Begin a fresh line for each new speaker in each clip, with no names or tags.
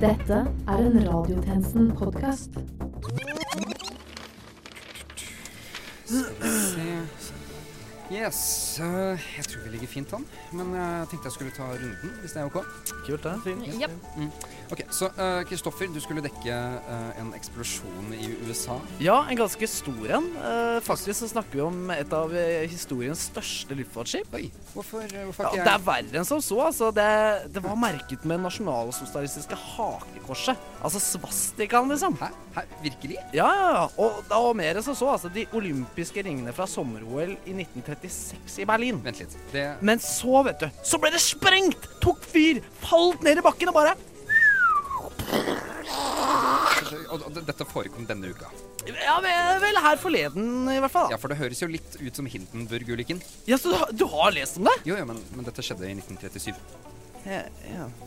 Dette er en Radiotjenesten-podkast.
Yes, øh, jeg tror vi ligger fint an, men eh, jeg tenkte jeg skulle ta runden, hvis det er ok. Mm.
Kult, det. Fint.
Jepp.
Ok, Så øh, Kristoffer, du skulle dekke øh, en eksplosjon i USA.
Ja, en ganske stor en. Eh, faktisk så snakker vi om et av eh, historiens største luftfartsskip.
Oi, hvorfor, øh, hvorfor
Ja,
ikke
det er verre enn som så. Altså, det, det var merket med nasjonalsosialistiske hakekorset. Altså svastikaen, liksom.
Hæ? Hæ? Virkelig?
Ja, ja, ja. Og, da- og mer enn som så. Altså, de olympiske ringene fra sommer-OL i 1936 i Berlin.
Vent litt. Det
Men så, vet du, så ble det sprengt! Tok fyr! Falt ned i bakken og bare
og, og Dette forekom denne uka.
Ja vel, vel, her forleden, i hvert fall.
Ja,
da.
for det høres jo litt ut som Hindenburg-ulykken.
Ja, så du, har- du har lest om det?
Jo, jo, men, men dette skjedde i 1937.
ja.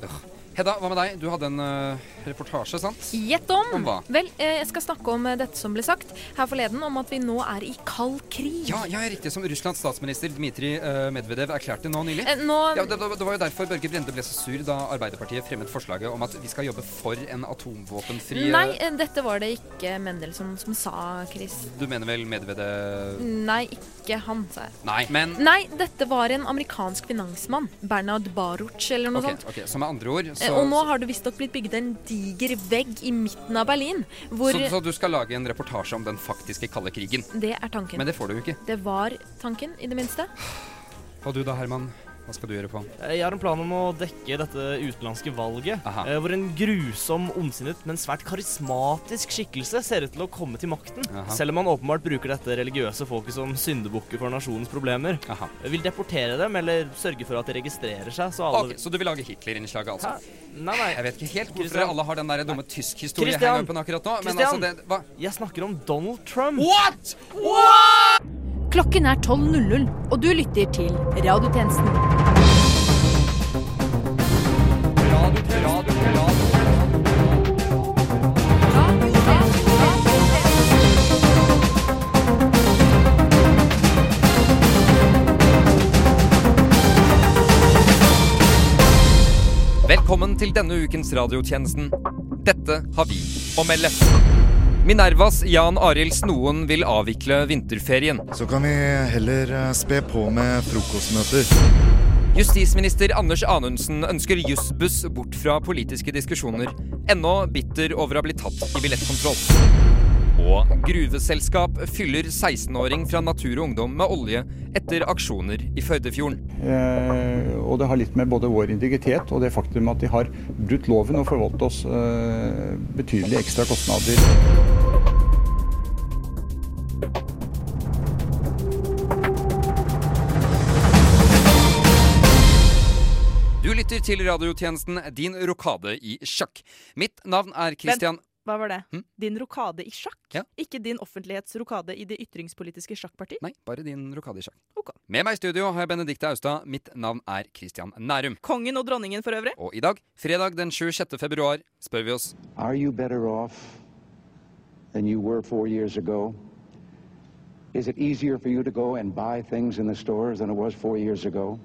Øh. Hedda, hva med deg? Du hadde en øh, reportasje, sant?
Gjett om!
Om hva?
Vel, eh, jeg skal snakke om eh, dette som ble sagt her forleden, om at vi nå er i kald krig.
Ja, ja, riktig som Russlands statsminister Dmitrij øh, Medvedev erklærte nå nylig.
Eh, nå
Ja, det, det var jo derfor Børge Brende ble så sur da Arbeiderpartiet fremmet forslaget om at vi skal jobbe for en atomvåpenfri
Nei, eh, dette var det ikke Mendelssohn som sa, Chris.
Du mener vel Medvedev
Nei, ikke han, sa jeg.
Nei, men
Nei, dette var en amerikansk finansmann. Bernard Baruch eller noe
Ok,
sånt.
ok, så med andre ord
Eh,
så,
Og nå har det visstnok blitt bygd en diger vegg i midten av Berlin, hvor
så, så du skal lage en reportasje om den faktiske kalde krigen.
Det er tanken.
Men det får du jo ikke.
det var tanken, i det minste.
Og du da, Herman? Hva skal du gjøre på?
Jeg har en plan om å dekke dette utenlandske valget,
Aha.
eh, hvor en grusom, ondsinnet, men svært karismatisk skikkelse ser ut til å komme til makten,
Aha.
selv om han åpenbart bruker dette religiøse folket som syndebukke for nasjonens problemer.
Aha.
Jeg Vil deportere dem, eller sørge for at de registrerer seg, så alle
Ok, Så du vil lage Hitler-innslaget, altså?
Hæ? Nei, nei.
Jeg vet ikke helt hvorfor
Christian.
alle har den der dumme
Christian.
tysk-historie-hangupen akkurat nå, men altså
Christian.
det Hva?
Jeg snakker om Donald Trump.
What?!
Klokken er 12.00, og du lytter til Radiotjenesten.
Velkommen til denne ukens radiotjenesten. Dette har vi å melde. Minervas Jan Arild Snoen vil avvikle vinterferien.
Så kan vi heller eh, spe på med frokostmøter.
Justisminister Anders Anundsen ønsker jussbuss bort fra politiske diskusjoner. Ennå bitter over å ha blitt tatt i billettkontroll. Og gruveselskap fyller 16-åring fra Natur og Ungdom med olje etter aksjoner i Førdefjorden.
Eh, og det har litt med både vår integritet og det faktum at de har brutt loven og forvoldt oss eh, betydelige ekstra kostnader.
Du lytter til radiotjenesten Din rokade i sjakk. Mitt navn er Christian
Hva var det?
Hm?
Din rokade i sjakk?
Ja.
Ikke din offentlighetsrokade i det ytringspolitiske sjakkparti?
Nei, bare din rokade i sjakk.
Ok.
Med meg i studio har jeg Benedicte Austad. Mitt navn er Christian Nærum.
Kongen og dronningen for øvrig?
Og i dag, fredag den 26. februar, spør vi oss
Are you better off than you were four years ago? Is it easier for you to go and buy things in the stores than it was four years ago?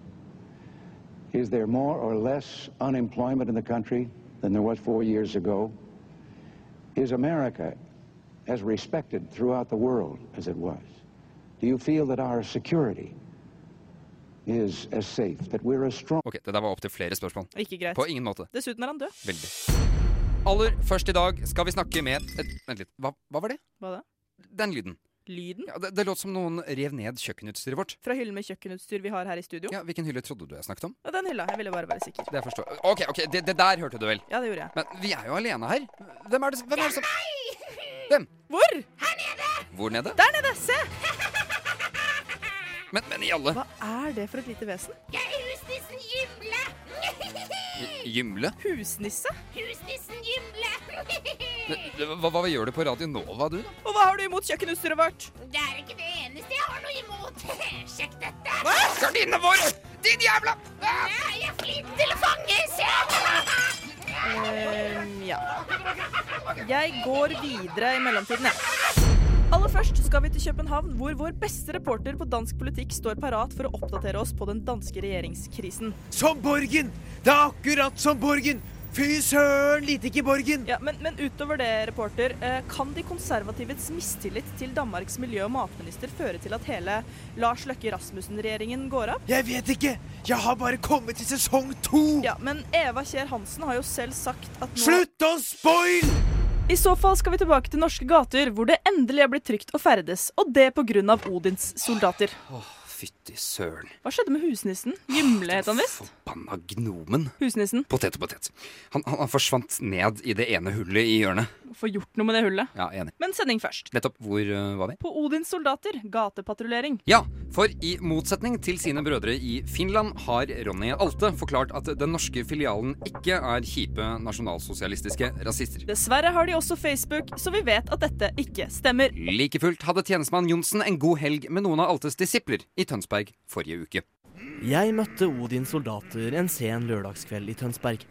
Is there more or less unemployment in the country than there was four years ago? Is America as respected throughout the world as it was? Do you feel that our security is as safe, that we're as strong?
Ok, det der var opp til flere spørsmål.
Ikke greit.
På ingen måte.
Dessuten er han død.
Veldig. Aller først i dag skal vi snakke med et, Vent litt, hva, hva var det?
Hva da?
Den lyden.
Lyden
Ja, det, det låt som noen rev ned kjøkkenutstyret vårt.
fra hyllen med kjøkkenutstyr vi har her i studio?
Ja, Hvilken hylle trodde du jeg snakket om?
Ja, Den hylla. Jeg ville bare være sikker.
Det forstår jeg. Ok, ok, det, det der hørte du vel.
Ja, det gjorde jeg.
Men vi er jo alene her. Hvem er det, hvem er det som Hvem?
Hvor?
Hvor nede?
Der nede! Se!
Men, men i alle
Hva er det for et lite vesen?
Husnissen Gimle!
Gymle?
Husnisse?
Husnissen Gimle!
Hva, hva gjør du på Radio Nova, du? da?
Og hva har du imot kjøkkenutstyret vårt?
Det er ikke det eneste jeg har noe imot. Sjekk dette.
Gardinene våre! Din jævla
Nei, Jeg er flink til å fange, se!
Ehm, ja. Jeg går videre i mellomtiden, jeg. Aller først skal vi til København, hvor vår beste reporter på dansk politikk står parat for å oppdatere oss på den danske regjeringskrisen.
Som Borgen! Det er akkurat som Borgen!
Fy søren, lite ikke Borgen!
Ja, men, men utover det, reporter, eh, kan de konservativets mistillit til Danmarks miljø- og matminister føre til at hele Lars Løkke Rasmussen-regjeringen går av?
Jeg vet ikke! Jeg har bare kommet til sesong to!
Ja, men Eva Kjær Hansen har jo selv sagt at nå
Slutt å spoil!
I så fall skal vi tilbake til norske gater, hvor det endelig er blitt trygt å ferdes. Og det pga. Odins soldater.
Fytti søren.
Hva skjedde med husnissen? Gimle het han visst.
Forbanna gnomen.
Husnissen.
Potet og potet. Han, han, han forsvant ned i det ene hullet i hjørnet.
Få gjort noe med det hullet.
Ja, enig.
Men sending først.
Nettopp. Hvor eh, var vi?
På Odins soldater, gatepatruljering.
Ja, for i motsetning til sine brødre i Finland har Ronny Alte forklart at den norske filialen ikke er kjipe nasjonalsosialistiske rasister.
Dessverre har de også Facebook, så vi vet at dette ikke stemmer.
Like fullt hadde tjenestemann Johnsen en god helg med noen av Altes disipler i Tønsberg forrige uke.
Jeg møtte Odins soldater en sen lørdagskveld i Tønsberg.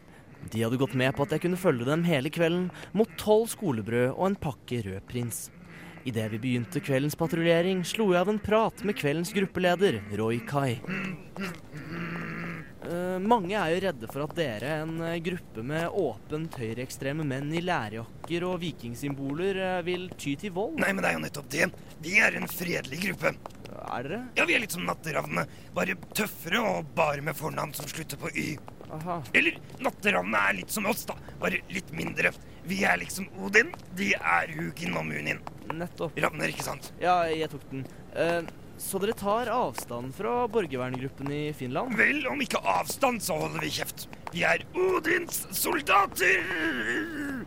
De hadde gått med på at jeg kunne følge dem hele kvelden mot tolv skolebrød og en pakke Rød Prins. Idet vi begynte kveldens patruljering, slo jeg av en prat med kveldens gruppeleder, Roy Kai. Eh, mange er jo redde for at dere, en eh, gruppe med åpent høyreekstreme menn i lærjakker og vikingsymboler, eh, vil ty til vold.
Nei, men det er jo nettopp det. Vi er en fredelig gruppe.
Er dere?
Ja, vi er litt som natteravnene. Bare tøffere og bare med fornavn som slutter på Y.
Aha.
Eller natteravnene er litt som oss, da. Bare litt mindre. Vi er liksom Odin, de er Hugin og Munin.
Nettopp.
Ravner, ikke sant?
Ja, jeg tok den. Eh, så dere tar avstand fra borgerverngruppen i Finland?
Vel, om ikke avstand, så holder vi kjeft. Vi er Odins soldater!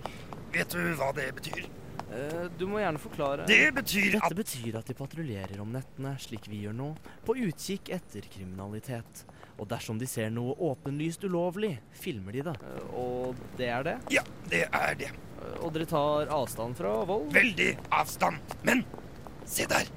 Vet du hva det betyr?
Eh, du må gjerne forklare.
Det betyr at
Dette betyr at de patruljerer om nettene, slik vi gjør nå, på utkikk etter kriminalitet. Og dersom de ser noe åpenlyst ulovlig, filmer de det. Eh, og det er det?
Ja, det er det.
Eh, og dere tar avstand fra vold?
Veldig avstand. Men se der.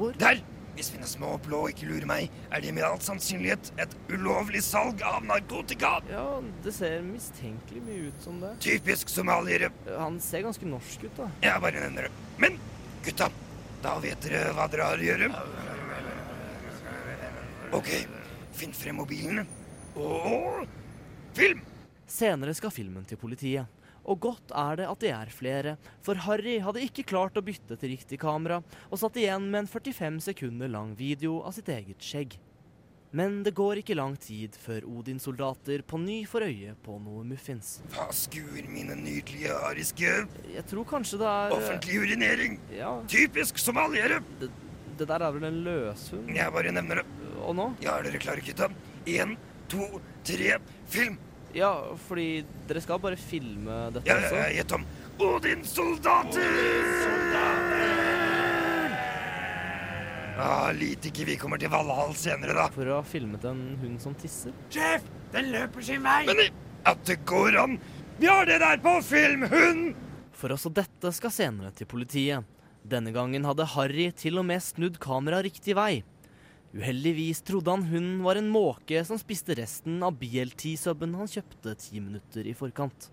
Hvor?
Der! Hvis mine små blå ikke lurer meg, er det med all sannsynlighet et ulovlig salg av narkotika.
Ja, det ser mistenkelig mye ut som det.
Typisk somaliere.
Eh, han ser ganske norsk ut, da.
Jeg bare nevner det. Men gutta, da vet dere hva dere har å gjøre. OK, finn frem mobilene. Og film!
Senere skal filmen til politiet. Og godt er det at de er flere, for Harry hadde ikke klart å bytte til riktig kamera, og satt igjen med en 45 sekunder lang video av sitt eget skjegg. Men det går ikke lang tid før Odins soldater på ny får øye på noe muffins.
Hva skuer mine nydelige ariske?
Jeg tror kanskje det er
Offentlig urinering.
Ja,
Typisk somaliere.
eh, det der er vel en løshund?
Jeg bare nevner det.
Og nå?
Ja, er dere klare, gutta? Én, to, tre, film!
Ja, fordi dere skal bare filme dette
Ja,
også?
ja, ja, gjett om. Odin soldater! Ah, Lite ikke vi kommer til Valhall senere, da.
For å ha filmet en hund som tisser?
Sjef, den løper sin vei! Men at det går an! Vi har det der på film, hun!
For også dette skal senere til politiet. Denne gangen hadde Harry til og med snudd kameraet riktig vei. Uheldigvis trodde han hunden var en måke som spiste resten av BLT-subben han kjøpte ti minutter i forkant.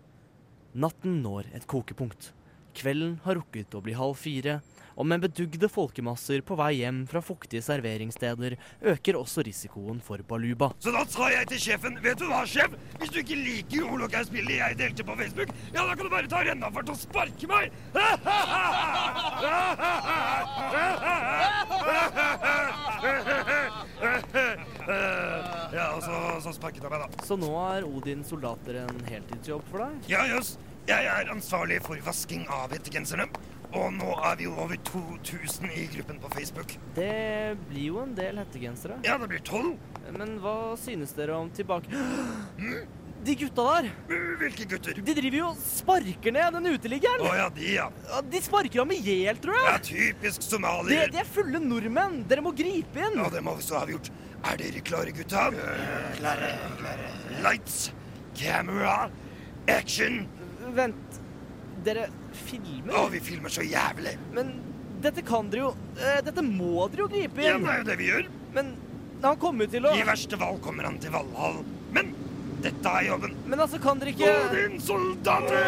Natten når et kokepunkt. Kvelden har rukket å bli halv fire, og med bedugde folkemasser på vei hjem fra fuktige serveringssteder øker også risikoen for baluba.
Så da sa jeg til sjefen, vet du hva, sjef? Hvis du ikke liker holocaust-bildet jeg delte på Facebook, ja, da kan du bare ta rennafart og sparke meg! Ja, og så, så sparket han meg, da.
Så nå er Odins soldater en heltidsjobb for deg?
Ja, jøss. Jeg er ansvarlig for vasking av hettegenserne. Og nå er vi jo over 2000 i gruppen på Facebook.
Det blir jo en del hettegensere.
Ja, det blir tolv.
Men hva synes dere om tilbake... De gutta der,
Mm. Hvilke gutter?
de driver jo og sparker ned den
Å
uteliggeren.
ja, de, ja.
Ja, De sparker ham i hjel, tror
Ja,
jeg.
typisk
De,
somalier.
de er fulle nordmenn. Dere må gripe inn.
Ja, det må vi så avgjort. Er dere klare, gutta? Klare. Lights, camera, action.
Vent, dere
Å,
filmer?
vi filmer så jævlig.
Men dette kan dere jo... eh, Dette må dere jo gripe
Ja,
inn.
det er jo det vi gjør.
Men han kommer jo til å...
I verste fall kommer han til Valhall. Men dette er jobben.
Men altså, kan dere ikke...
Odin soldater!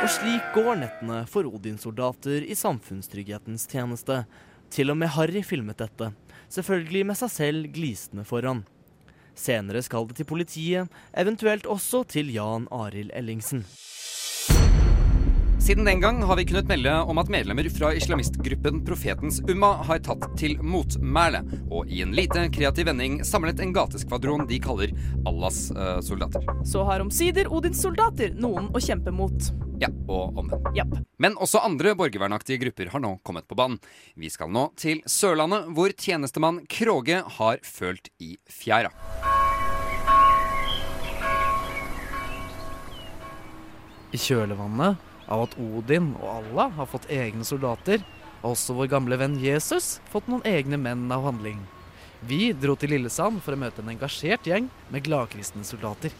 Og slik går nettene for Odin-soldater i samfunnstrygghetens tjeneste. Til og med Harry filmet dette, selvfølgelig med seg selv glisende foran. Senere skal det til politiet, eventuelt også til Jan Arild Ellingsen.
Siden den gang har vi kunnet melde om at medlemmer fra islamistgruppen Profetens Umma har tatt til motmæle, og i en lite kreativ vending samlet en gateskvadron de kaller Allahs eh, soldater.
Så har omsider Odins soldater noen å kjempe mot.
Ja, og omvendt.
Japp.
Men også andre borgervernaktige grupper har nå kommet på banen. Vi skal nå til Sørlandet, hvor tjenestemann Kråge har følt i fjæra.
I kjølvannet av at Odin og Allah har fått egne soldater, har også vår gamle venn Jesus fått noen egne menn av handling. Vi dro til Lillesand for å møte en engasjert gjeng med gladkristne soldater.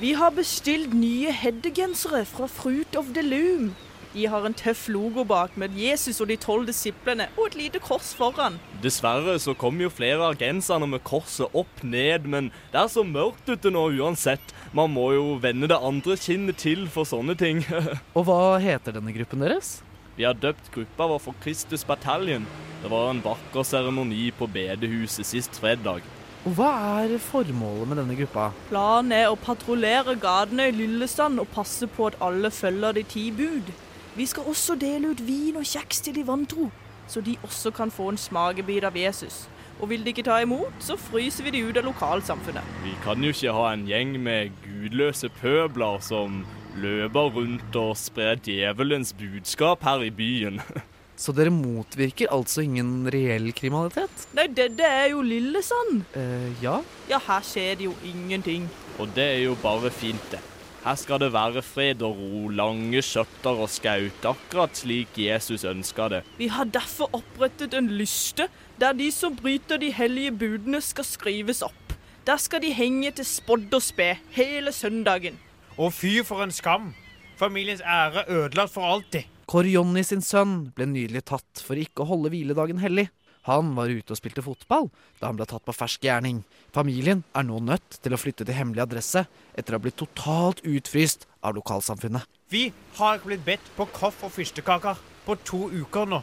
Vi har bestilt nye heddegensere fra Fruit of the Loom. De har en tøff logo bak med Jesus og de tolv disiplene og et lite kors foran.
Dessverre så kom jo flere av genserne med korset opp ned, men det er så mørkt ute nå uansett. Man må jo vende det andre kinnet til for sånne ting.
Og hva heter denne gruppen deres?
Vi har døpt gruppa vår for Kristus Bataljen. Det var en vakker seremoni på bedehuset sist fredag.
Og hva er formålet med denne gruppa?
Planen er å patruljere gatene i Lillesand og passe på at alle følger de ti bud. Vi skal også dele ut vin og kjeks til de vantro, så de også kan få en smakebit av Jesus. Og vil de ikke ta imot, så fryser vi de ut av lokalsamfunnet.
Vi kan jo ikke ha en gjeng med gudløse pøbler som løper rundt og sprer djevelens budskap her i byen.
Så dere motvirker altså ingen reell kriminalitet?
Nei, dette er jo Lillesand.
Eh, ja.
Ja, her skjer det jo ingenting.
Og det er jo bare fint, det. Her skal det være fred og ro, lange skjøtter og skaut, akkurat slik Jesus ønska det.
Vi har derfor opprettet en lyste der de som bryter de hellige budene, skal skrives opp. Der skal de henge til spådd og spe hele søndagen.
Å fy for en skam! Familiens ære ødelagt for alltid.
Kåre Jonny sin sønn ble nylig tatt for ikke å holde hviledagen hellig. Han var ute og spilte fotball da han ble tatt på fersk gjerning. Familien er nå nødt til å flytte til hemmelig adresse etter å ha blitt totalt utfryst av lokalsamfunnet.
Vi har ikke blitt bedt på kaffe og fyrstekaker på to uker nå.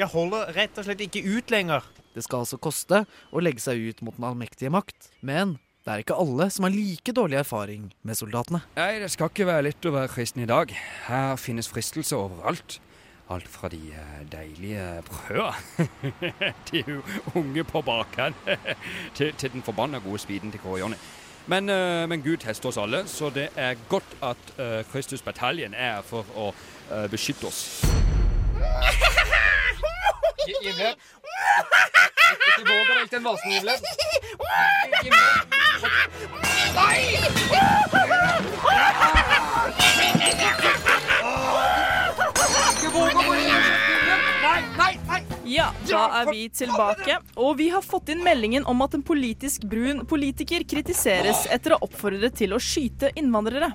Jeg holder rett og slett ikke ut lenger.
Det skal altså koste å legge seg ut mot den allmektige makt. Men det er ikke alle som har like dårlig erfaring med soldatene.
Nei, det skal ikke være lett å være kristen i dag. Her finnes fristelse overalt. Alt fra de eh, deilige brøda De unge på baken til, til den forbanna gode speeden til Kåre Jonny.
Men, eh, men Gud tester oss alle, så det er godt at eh, Kristus Bataljen er her for å eh, beskytte oss.
Gimle. Ikke våg å velte en vasen, Gimle.
Ja, da er vi tilbake. Og vi har fått inn meldingen om at en politisk brun politiker kritiseres etter å oppfordre til å skyte innvandrere.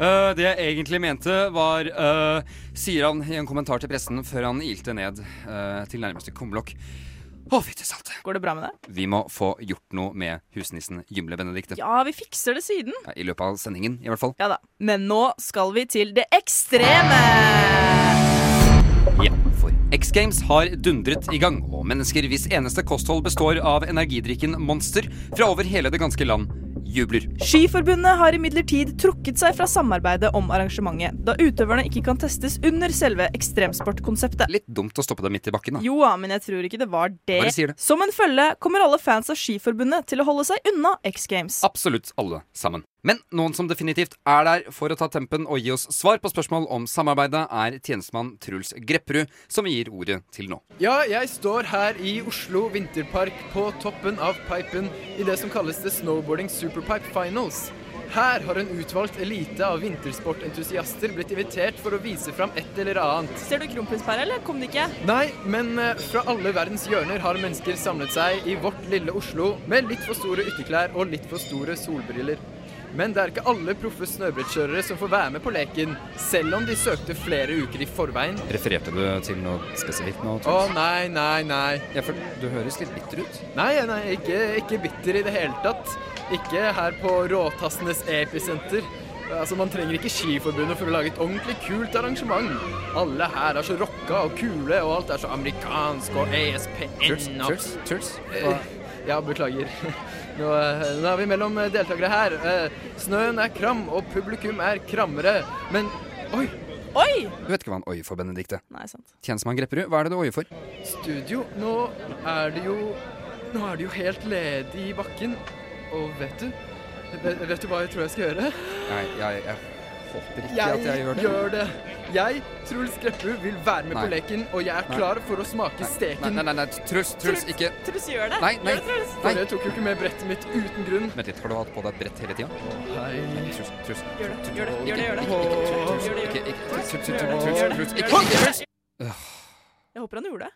Eh, det jeg egentlig mente, var eh, Sier han i en kommentar til pressen før han ilte ned eh, til nærmeste kumlokk. Å, fytti salte.
Går det bra med deg?
Vi må få gjort noe med husnissen Gimle Benedicte.
Ja, vi fikser det siden.
Ja, I løpet av sendingen, i hvert fall.
Ja da. Men nå skal vi til det ekstreme.
Ja, for X Games har dundret i gang, og mennesker hvis eneste kosthold består av energidrikken Monster fra over hele det ganske land, jubler.
Skiforbundet har imidlertid trukket seg fra samarbeidet om arrangementet, da utøverne ikke kan testes under selve ekstremsportkonseptet.
Litt dumt å stoppe deg midt i bakken, da.
Jo da, men jeg tror ikke det var det.
Bare sier det.
Som en følge kommer alle fans av Skiforbundet til å holde seg unna X Games.
Absolutt alle sammen. Men noen som definitivt er der for å ta tempen og gi oss svar på spørsmål om samarbeidet, er tjenestemann Truls Grepperud, som vi gir ordet til nå.
Ja, jeg står her i Oslo Vinterpark på toppen av pipen i det som kalles The Snowboarding Superpipe Finals. Her har en utvalgt elite av vintersportentusiaster blitt invitert for å vise fram et eller annet.
Ser du kronprinspæret, eller kom det ikke?
Nei, men eh, fra alle verdens hjørner har mennesker samlet seg i vårt lille Oslo med litt for store ytterklær og litt for store solbriller. Men det er ikke alle proffe snøbrettkjørere som får være med på leken, selv om de søkte flere uker i forveien.
Refererte du til noe spesifikt nå,
Å
Truls?
nei, nei, nei.
Ja, for du høres litt bitter ut.
Nei, nei, ikke, ikke bitter i det hele tatt. Ikke her på Råtassenes episenter. Altså, Man trenger ikke Skiforbundet for å lage et ordentlig kult arrangement. Alle her er så rocka og kule, og alt er så amerikansk og ESPN
Truls,
og
Truls, Truls.
Eh,
Hva-
Ja, beklager. Nå, eh, nå er vi mellom eh, deltakere her. Eh, Snøen er kram, og publikum er krammere. Men oi!
Oi!
Du vet ikke hva han oier for, Benedikte.
Nei, sant.
Tjenestemann Grepperud, hva er det du oier for?
Studio, nå er det jo Nå er det jo helt ledig i bakken. Og vet du Vet, vet du hva jeg tror jeg skal gjøre?
Nei, jeg, jeg håper ikke at jeg gjør det.
Jeg, Truls Grepperud, vil være med
Nei.
på leken, og jeg er
Nei.
klar for å smake steken.
Nei, nei, nei, nei, Truls, Truls, ikke
Truls gjør det.
Nei, nei.
Gjør det, Truls.
Nei.
For jeg tok jo ikke med brettet mitt uten grunn.
Vent litt, har du hatt på deg et brett hele tida?
Nei.
Truls, Truls.
Gjør det, gjør det, gjør det, gjør det.
Ikke- ikke- ikke-
Gjør det, gjør det.
ikke- ikke- Truls, Truls,
Gjør det,
Truls,
gjør det,
Truls,
gjør
ikke-
det.
ikke Truls!
Jeg håper han gjorde det.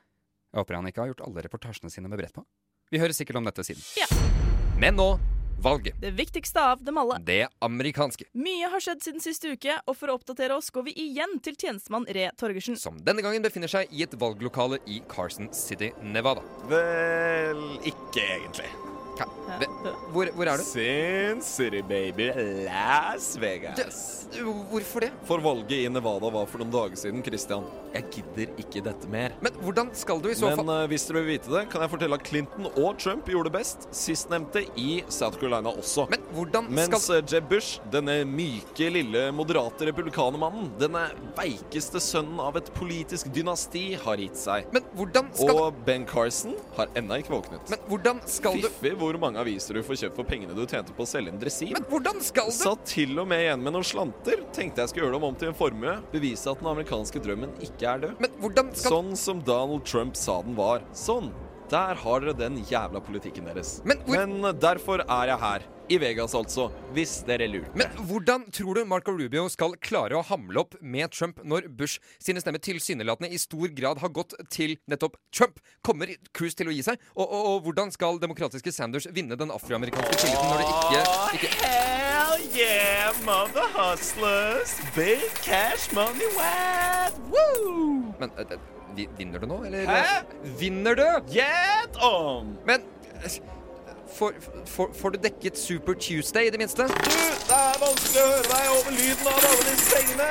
Jeg håper han ikke har gjort alle reportasjene sine med brett på. Vi hører sikkert om dette siden. Men nå valget.
Det viktigste av dem alle.
Det amerikanske.
Mye har skjedd siden siste uke, og for å oppdatere oss går vi igjen til tjenestemann Re Torgersen.
Som denne gangen befinner seg i et valglokale i Carson City, Nevada.
Vel, ikke egentlig.
Hvor, er du?
Sin City, baby. Las Vegas.
hvorfor det?
For valget i Nevada var for noen dager siden, Christian. Jeg gidder ikke dette mer.
Men hvordan skal du i så fall
Men eh, hvis dere vil vite det, kan jeg fortelle at Clinton og Trump gjorde det best. Sistnevnte i South Carolina også.
Men hvordan
Mens eh, Jeb Bush, denne myke, lille, moderate republikanermannen, denne veikeste sønnen av et politisk dynasti, har gitt seg.
Men hvordan skal
Og Ben Carson har ennå ikke våknet.
Men hvordan skal du
Fiffig hvor mange aviser du får kjøpt for pengene du tjente på å selge en dresin.
Men hvordan skal du
Satt til og med igjen med noen slanter. Tenkte jeg skulle gjøre dem om til en formue. Bevise at den amerikanske drømmen ikke er død.
Men hvordan skal
Sånn som Donald Trump sa den var. Sånn. Der har dere den jævla politikken deres.
Men,
eh, derfor er jeg her. I Vegas, altså. Hvis dere lurte.
Men hvordan tror du Marco Rubio skal klare å hamle opp med Trump når Bush sine stemmer tilsynelatende i stor grad har gått til nettopp Trump? Kommer Cruz til å gi seg? Og, og, og hvordan skal demokratiske Sanders vinne den afroamerikanske tilliten når det ikke, ikke
Hell yeah, mother hustlers. Big cash money wet. Woo!
Men eh, eh, vi- vinner du nå, eller?
Hæ?
Vinner du?
Gjett om!
Men eh, får- får får du dekket Super Tuesday, i det minste?
Det er vanskelig å høre deg over lyden av alle disse pengene.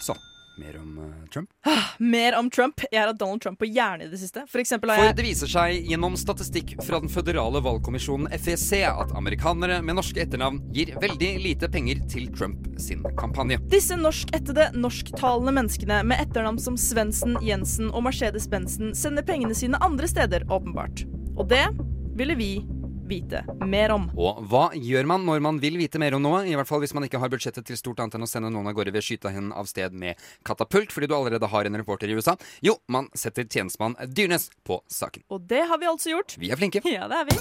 Så. Mer om eh, Trump?
Ah, Mer om Trump. Jeg har hatt Donald Trump på hjernen i det siste. For eksempel har
For
jeg
det viser seg gjennom statistikk fra den føderale valgkommisjonen FEC at amerikanere med norske etternavn gir veldig lite penger til Trump sin kampanje.
Disse norskættede, norsktalende menneskene med etternavn som Svendsen, Jensen og Mercedes-Bensen sender pengene sine andre steder, åpenbart. Og det ville vi vite mer om.
Og hva gjør man når man vil vite mer om noe? I hvert fall hvis man ikke har budsjettet til stort annet enn å sende noen av gårde ved å skyte hen av sted med katapult, fordi du allerede har en reporter i USA. Jo, man setter tjenestemann Dyrnes på saken.
Og det har vi altså gjort.
Vi er flinke.
Ja, det er vi.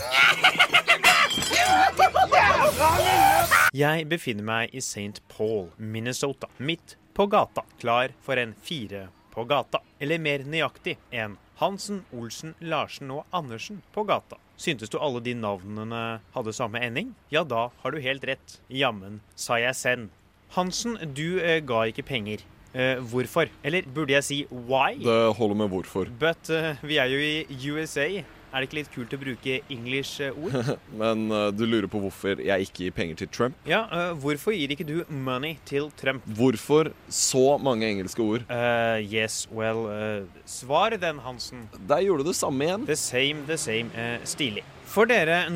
Jeg befinner meg i St. Paul, Minnesota, midt på gata, klar for en fire på gata. Eller mer nøyaktig, en Hansen, Olsen, Larsen og Andersen på gata. Syntes du alle de navnene hadde samme ending? Ja, da har du helt rett. Jammen sa jeg send. Hansen, du eh, ga ikke penger. Eh, hvorfor? Eller burde jeg si why?
Det holder med hvorfor.
But eh, vi er jo i USA. Er det ikke litt kult å bruke eh, English-ord?
Men eh, du lurer på hvorfor jeg ikke gir penger til Trump?
Ja, eh, hvorfor gir ikke du money til Trump?
Hvorfor så mange engelske ord?
Eh, yes, well eh, Svar den, Hansen.
Der gjorde du det samme igjen.
The same, the same. eh, stilig. For dere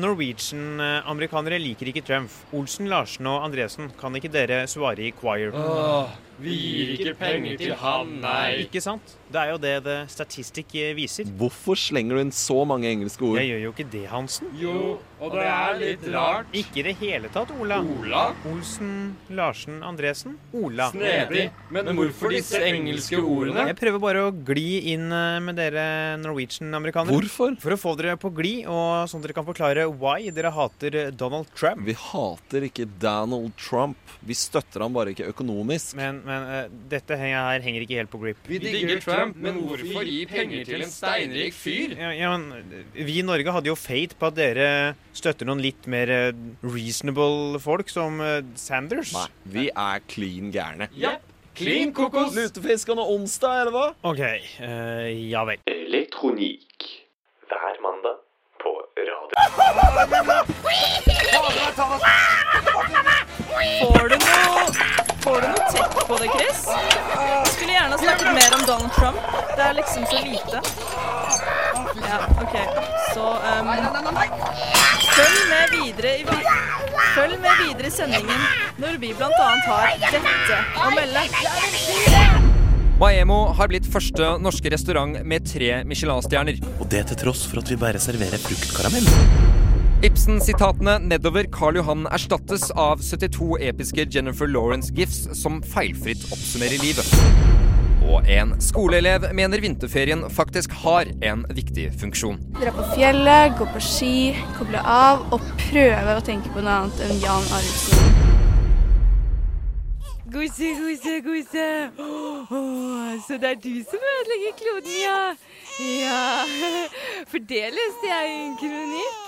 Norwegian-amerikanere liker ikke Trump. Olsen, Larsen og Andresen, kan ikke dere svare i choir?
Åh, vi gir ikke penger til han, nei.
Ikke sant? Det er jo det The Statistic eh, viser.
Hvorfor slenger du inn så mange engelske ord?
Jeg gjør jo ikke det, Hansen.
Jo, og det er litt rart.
Ikke i det hele tatt, Ola.
Ola?
Olsen, Larsen, Andresen. Ola.
Snedig. Men hvorfor disse engelske ordene?
Jeg prøver bare å gli inn eh, med dere Norwegian-amerikanere.
Hvorfor?
For å få dere på glid, og sånn at dere kan forklare why dere hater eh, Donald Trump.
Vi hater ikke Donald Trump. Vi støtter ham bare ikke økonomisk.
Men, men eh, dette he- her henger ikke helt på grip.
Vi digger Trump, men hvorfor gi penger til en steinrik fyr?
Ja, ja, men vi i Norge hadde jo fate på at dere støtter noen litt mer eh, reasonable folk, som eh, Sanders.
Nei, vi er klin gærne.
Japp.
Klin kokos. Lutefiskene onsdag, eller hva?
OK. eh, ja vel.
Elektronikk. Hver mandag på radio.
Får du noe Får du noe tett på det, Chris? Jeg skulle gjerne ha snakket mer om Donald Trump. Det er liksom så lite. Ja, ok. Så um, Følg med videre i vi Følg med videre i sendingen når vi blant annet har dette å melde.
Maemo har blitt første norske restaurant med tre Michelin-stjerner.
Og det til tross for at vi bare serverer fruktkaramell.
Ibsen-sitatene nedover Karl Johan erstattes av 72 episke Jennifer Lawrence-gifs som feilfritt oppsummerer livet. Og en skoleelev mener vinterferien faktisk har en viktig funksjon.
Dra på fjellet, gå på ski, koble av og prøve å tenke på noe annet enn Jan Arntzen.
Gose, gose, gose. Åh, så det er du som ødelegger kloden, ja. Ja, for det leste jeg i en kronikk.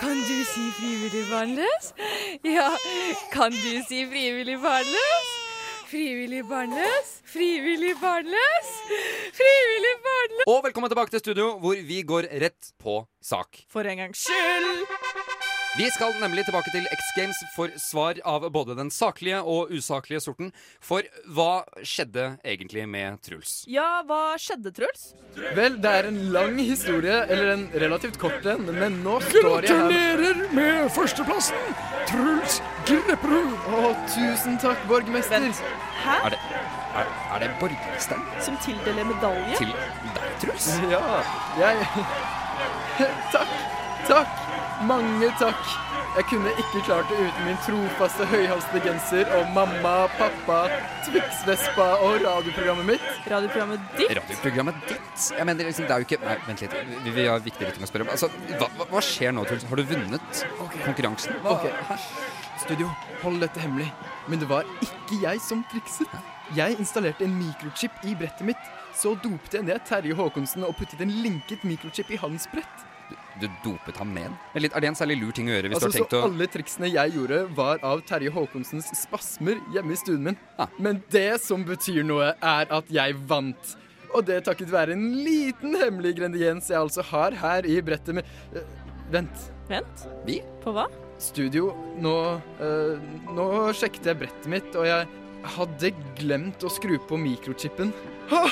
Kan du si frivillig barnløs? Ja, kan du si frivillig barnløs? Frivillig barnløs, frivillig barnløs, frivillig barnløs.
Og velkommen tilbake til studio, hvor vi går rett på sak.
For en gangs skyld.
Vi skal nemlig tilbake til X Games for svar av både den saklige og usaklige sorten. For hva skjedde egentlig med Truls?
Ja, hva skjedde, Truls?
Vel, det er en lang historie, eller en relativt kort en, men nå står jeg her.
Gratulerer med førsteplassen, Truls Grepperud.
Å, tusen takk, borgmester.
Hæ?
Er det, er, er det borgermesteren?
Som tildeler medalje?
Til deg, Truls?
Ja, jeg Takk. Takk. Mange takk. Jeg kunne ikke klart det uten min trofaste høyhalsdegenser og mamma, pappa, Twix-vespa og radioprogrammet mitt.
Radioprogrammet ditt?
Radioprogrammet ditt? Jeg mener, liksom, det er jo ikke Nei, vent litt. Vi, vi har viktigere ting å spørre om. Altså, hva, hva- hva skjer nå, Truls? Har du vunnet konkurransen?
Ok, Studio, hold dette hemmelig. Men det var ikke jeg som trikset. Jeg installerte en mikrochip i brettet mitt. Så dopte jeg ned Terje Håkonsen og puttet en linket mikrochip i hans brett.
Du dopet ham ned? Vent litt, Er det en særlig lur ting å gjøre hvis
Altså,
du har tenkt
så
å
alle triksene jeg gjorde, var av Terje Håkonsens spasmer hjemme i stuen min.
Ah.
Men det som betyr noe, er at jeg vant. Og det takket være en liten hemmelig ingrediens jeg altså har her i brettet med Eh, Vent.
Vent?
Vi?
På hva?
Studio, nå eh, Nå sjekket jeg brettet mitt, og jeg hadde glemt å skru på mikrochipen. Ha!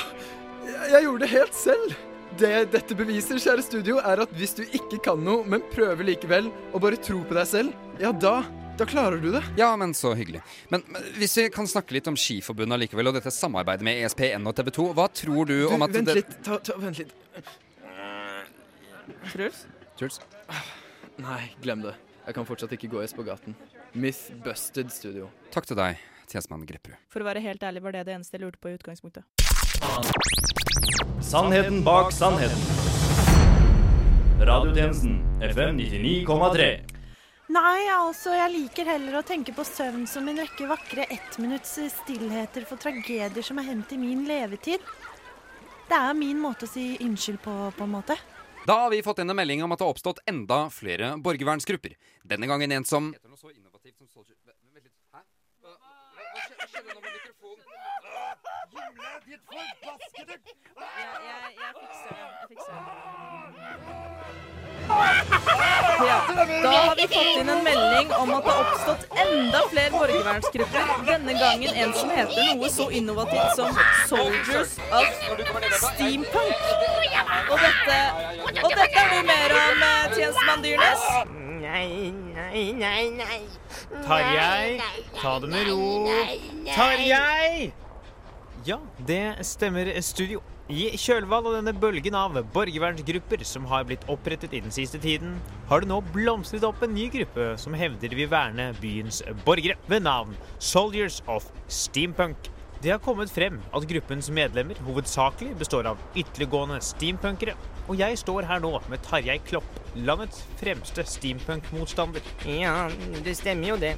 Jeg- Jeg gjorde det helt selv! Det dette beviser, kjære studio, er at hvis du ikke kan noe, men prøver likevel, og bare tror på deg selv, ja da da klarer du det.
Ja, men så hyggelig. Men, men hvis vi kan snakke litt om Skiforbundet allikevel, og dette samarbeidet med E ESPN og TV 2, hva tror du,
Du,
om at
vent
det
litt. Ta, ta, vent litt.
Truls?
Truls?
Nei, glem det. Jeg kan fortsatt ikke gå i spagaten. Myth busted studio.
Takk til deg, tjenestemann Grepperud.
For å være helt ærlig var det det eneste jeg lurte på i utgangspunktet.
Sannheten bak sannheten. Radiotjenesten FM 99,3.
Nei, altså, jeg liker heller å tenke på søvn som en rekke vakre ettminutts stillheter for tragedier som er hendt i min levetid. Det er min måte å si unnskyld på, på en måte.
Da har vi fått inn en melding om at det har oppstått enda flere borgervernsgrupper. Denne gangen en som
Ah!
Ja, da har vi fått inn en melding om at det har oppstått enda flere borgervernsgrupper. Denne gangen en som heter noe så innovativt som Soldiers of Steampunk. Og dette, og dette er noe mer om eh, tjenestemann Dyrnes.
Nei, nei, nei, nei.
Tarjei, ta det med ro. Tarjei! Ja, det stemmer, studio. I kjølvannet av denne bølgen av borgervernsgrupper som har blitt opprettet i den siste tiden, har det nå blomstret opp en ny gruppe som hevder de vil verne byens borgere, ved navn Soldiers of Steampunk. Det har kommet frem at gruppens medlemmer hovedsakelig består av ytterliggående steampunkere. Og jeg står her nå med Tarjei Klopp, landets fremste steampunk-motstander.
Ja, det stemmer jo det.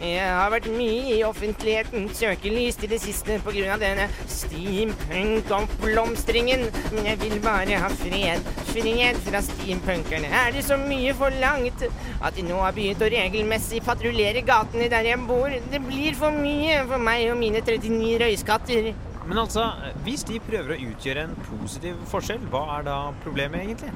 Jeg har vært mye i offentligheten søkelys til det siste pga. denne steampunk-oppblomstringen. Men jeg vil bare ha fred. Fred fra steampunkerne. Er det så mye forlangt at de nå har begynt å regelmessig patruljere gatene der jeg bor? Det blir for mye for meg og mine 39 røyskatter.
Men altså, hvis de prøver å utgjøre en positiv forskjell, hva er da problemet egentlig?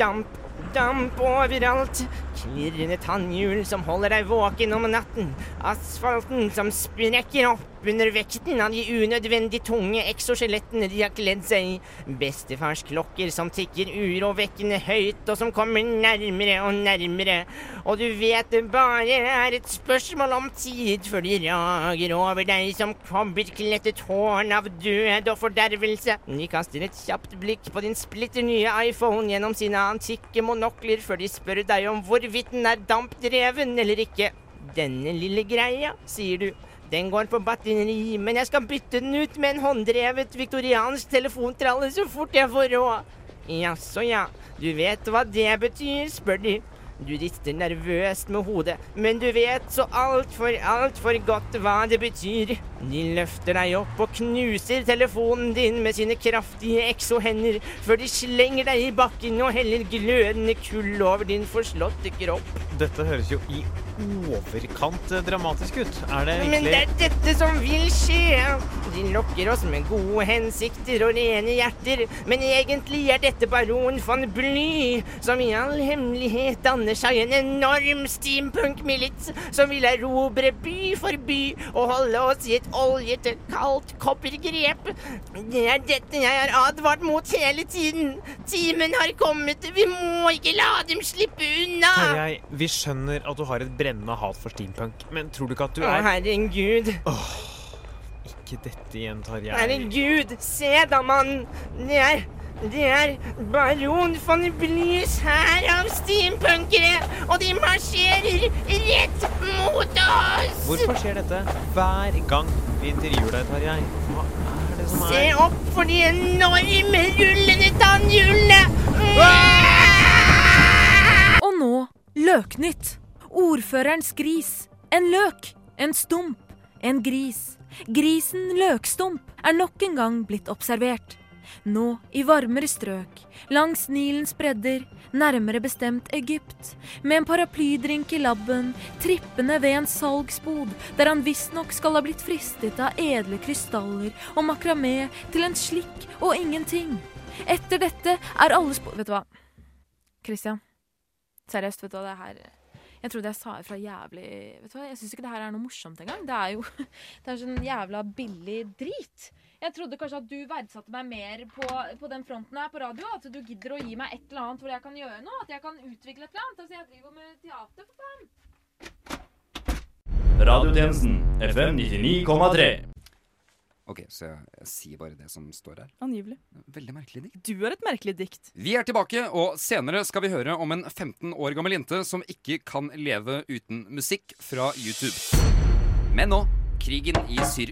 Damp. damp overalt. Klirrende tannhjul som holder deg våken om natten. Asfalten som sprekker opp under vekten av de unødvendig tunge exoskjelettene de har kledd seg i. Bestefars klokker som tikker urovekkende høyt, og som kommer nærmere og nærmere. Og du vet det bare er et spørsmål om tid før de rager over deg som kobberklettet tårn av død og fordervelse. De kaster et kjapt blikk på din splitter nye iPhone gjennom sine antikke monokler før de spør deg om hvorvidt den er dampdreven eller ikke. Denne lille greia, sier du. Den går på batteri, men jeg skal bytte den ut med en hånddrevet viktoriansk telefontralle så fort jeg får råd. Jaså, ja. Du vet hva det betyr, spør de. Du rister nervøst med hodet, men du vet så altfor, altfor godt hva det betyr. De løfter deg opp og knuser telefonen din med sine kraftige exo-hender, før de slenger deg i bakken og heller glødende kull over din forslåtte kropp.
Dette høres jo i overkant eh, dramatisk ut. Er det
Men det er
egentlig
dette som vil skje. De lokker oss med gode hensikter og rene hjerter, men egentlig er dette baron von Bly, som i all hemmelighet danner seg en enorm steampunk-milits som vil erobre by for by og holde oss i et oljete, kaldt koppergrep. Det er dette jeg har advart mot hele tiden. Timen har kommet. Vi må ikke la dem slippe unna.
Tarjei, vi skjønner at du har et brennende hat for steampunk, men tror du ikke at du
Å,
er
herregud.
Ikke dette igjen, Tarjei.
Herregud, se da, mann! Det er det er baron von Blys hær av steampunkere, og de marsjerer rett mot oss!
Hvorfor skjer dette hver gang vi intervjuer deg, Tarjei? Hva er det som
Se
er
opp for de enorme rullende tannhjulene!
Og nå Løknytt. Ordførerens gris. En løk. En stump. En gris. Grisen Løkstump er nok en gang blitt observert. Nå i varmere strøk, langs Nilens bredder, nærmere bestemt Egypt. Med en paraplydrink i labben, trippende ved en salgsbod, der han visstnok skal ha blitt fristet av edle krystaller og makramé til en slikk og ingenting. Etter dette er alle spor Vet du hva? Christian. Seriøst, vet du hva det her Jeg trodde jeg sa ifra jævlig Vet du hva, jeg syns ikke det her er noe morsomt engang. Det er jo det er sånn jævla billig drit. Jeg trodde kanskje at du verdsatte meg mer på, på den fronten her på radio. At du gidder å gi meg et eller annet hvor jeg kan gjøre noe. At jeg kan utvikle et eller annet. Altså, jeg driver med teater, for faen.
Radiotjenesten,
FM 99,3.
Ok, så jeg, jeg sier bare det som står her.
Angivelig.
Veldig merkelig dikt.
Du er et merkelig dikt.
Vi er tilbake, og senere skal vi høre om en 15 år gammel jente som ikke kan leve uten musikk fra YouTube. Men nå krigen i Syr...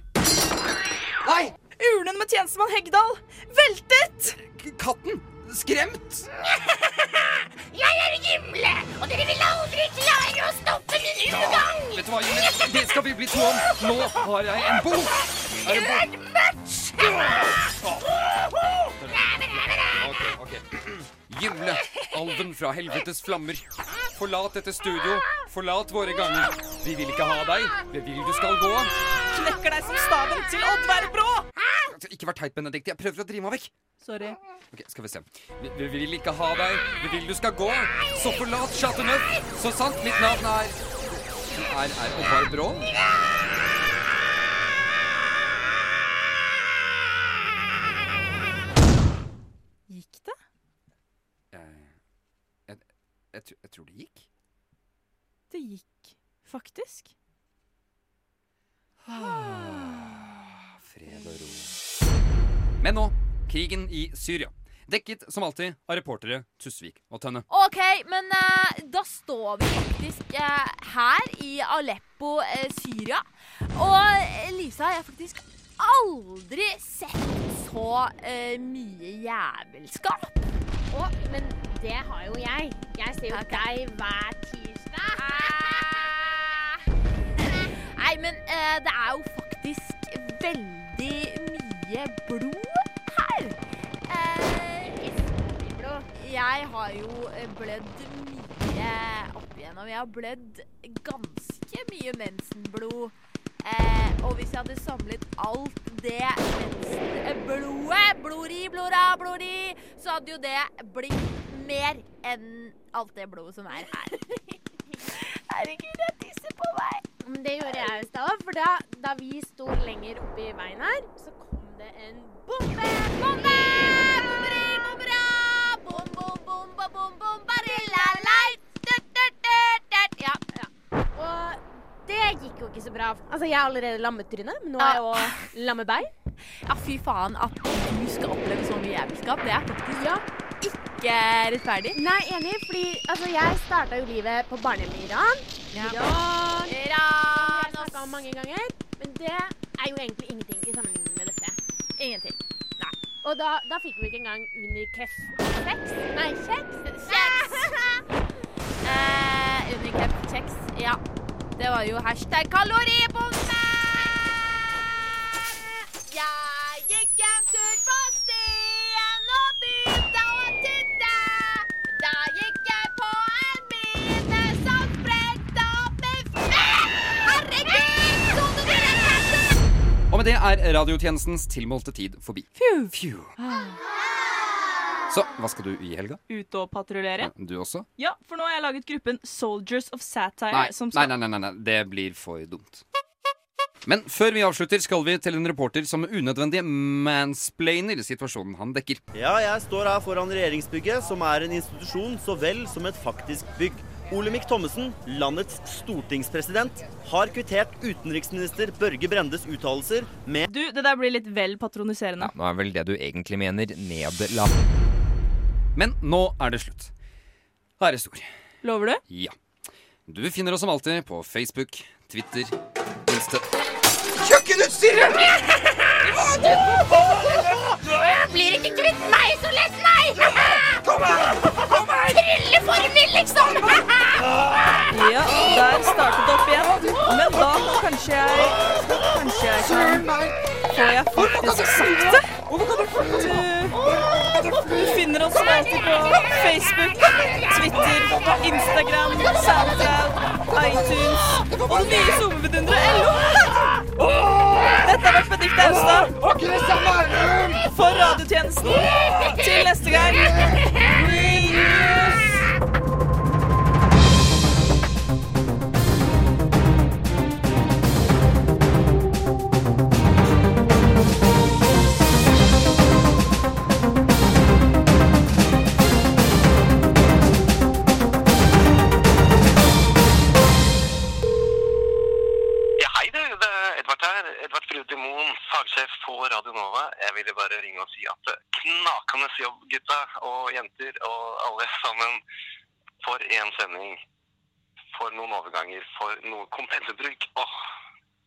Nei! Urnen med tjenestemann Heggdal veltet!
Katten skremt!
Jeg er Gimle, og dere vil aldri klare å stoppe min ugang!
Vet du hva, Julie? Det skal vi bli to om. Nå har jeg en bok! Er det en bok? Ok, ok. Gimle, alven fra helvetes flammer. Forlat dette studio. Forlat våre ganger. Vi vil ikke ha deg. Vi vil du skal gå.
Knekker deg som staven til Oddvar Brå!
Ikke vær teit, Benedicte. Jeg prøver å drive meg vekk.
Sorry.
Ok, skal vi se. Vi, vi vil ikke ha deg. Vi vil du skal gå. Så forlat Chateauneuf. Så sant mitt navn er Er, er Oddvar Brå.
Gikk det?
Jeg, jeg, tr- jeg tror det gikk.
Det gikk faktisk.
Fred og ro. Men nå krigen i Syria. Dekket som alltid av reportere Tusvik og Tønne.
OK, men eh, da står vi faktisk eh, her i Aleppo, eh, Syria. Og eh, Lisa, jeg har faktisk aldri sett så eh, mye jævelskap.
Å, men det har jo jeg. Jeg ser jo deg hver tirsdag.
Nei, men eh, det er jo faktisk veldig mye blod her. Eh, jeg har jo eh, blødd mye opp igjennom. Jeg har blødd ganske mye mensenblod. Eh, og hvis jeg hadde samlet alt det mensenblodet, blori, blora, blori, så hadde jo det blitt
mer enn alt det blodet som er her.
Herregud, jeg tisser på meg.
Men det gjorde jeg i stad òg, for da, da vi sto lenger oppe i veien her, så kom det en bombe. Bombe! Bomberi, bombera! Bom, bom, bomba, bom, bom, barilla light! Tut, tut, tut, tut. Ja, ja. Og det gikk jo ikke så bra. Altså, jeg er allerede lammetryne, men nå er jeg jo lammebei. Ja, fy faen, at du skal oppleve så mye jævelskap, det er faktisk ikke rettferdig. Nei, enig, fordi altså, jeg starta jo livet på barnehjemmet i Iran. Iran! Iran! Det har jeg snakket om mange ganger. Men det er jo egentlig ingenting i sammenligning med dette. Ingenting. Nei. Og da, da fikk vi ikke engang Unicef 6. Nei, kjeks. Kjeks! eh, Unicef kjeks, ja. Det var jo hashtag kaloribombe! Jeg gikk en tur på stien og begynte å titte. Da gikk jeg på en mine som sprengte opp i fjell. Herregud, så du det?
Og med det er radiotjenestens tilmålte tid forbi.
Phew.
Phew. Så hva skal du i helga?
Ute og patruljere.
Du også?
Ja, for nå har jeg laget gruppen Soldiers of Satire
Nei,
som
nei,
skal
nei, nei, nei, nei. det blir for dumt. Men før vi avslutter, skal vi til en reporter som unødvendig mansplainer situasjonen han dekker.
Ja, jeg står her foran regjeringsbygget, som er en institusjon så vel som et faktisk bygg. Olemic Thommessen, landets stortingspresident, har kvittert utenriksminister Børge Brendes uttalelser med
Du, det der blir litt vel patroniserende.
Nå er vel det du egentlig mener, nederlag. Men nå er det slutt. Ære stor.
Lover du?
Ja. Du finner oss som alltid på Facebook, Twitter, Insta
Kjøkkenutstyret! Jeg blir ikke kvitt meg så lett, nei! Kom her! Kom her! Trilleformen, liksom!
Ja, der startet det opp igjen. Men da kan kanskje jeg Kanskje jeg kan Får jeg faktisk sagt det? Du, du finner oss alltid på Facebook, Twitter, Instagram, SoundCloud, iTunes og det nye sommervidunderet LO. Dette har vært Benedicte Austad for radiotjenesten. Til neste gang. Reuse!
Ja,
Dạ,
hei du, det er Edvard her. Edvard Frude Moen, fagsjef på Radio Nova. Jeg ville bare ringe og si at eh, knakende jobb, gutta og jenter og alle sammen. For én sending. For noen overganger. For noe kompensebruk. Åh,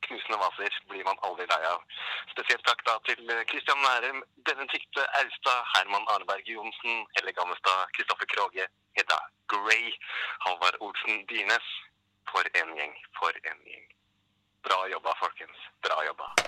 knusende vaser blir man aldri lei av. Spesielt takk da til Kristian Nærum, Benedicte Austad, Herman Arneberg Johnsen, Helle Gammestad, Kristoffer Kroge, Hedda Gray, Halvard Olsen Dyrnes. For en gjeng. For en gjeng. Bra jobba, folkens. Bra jobba.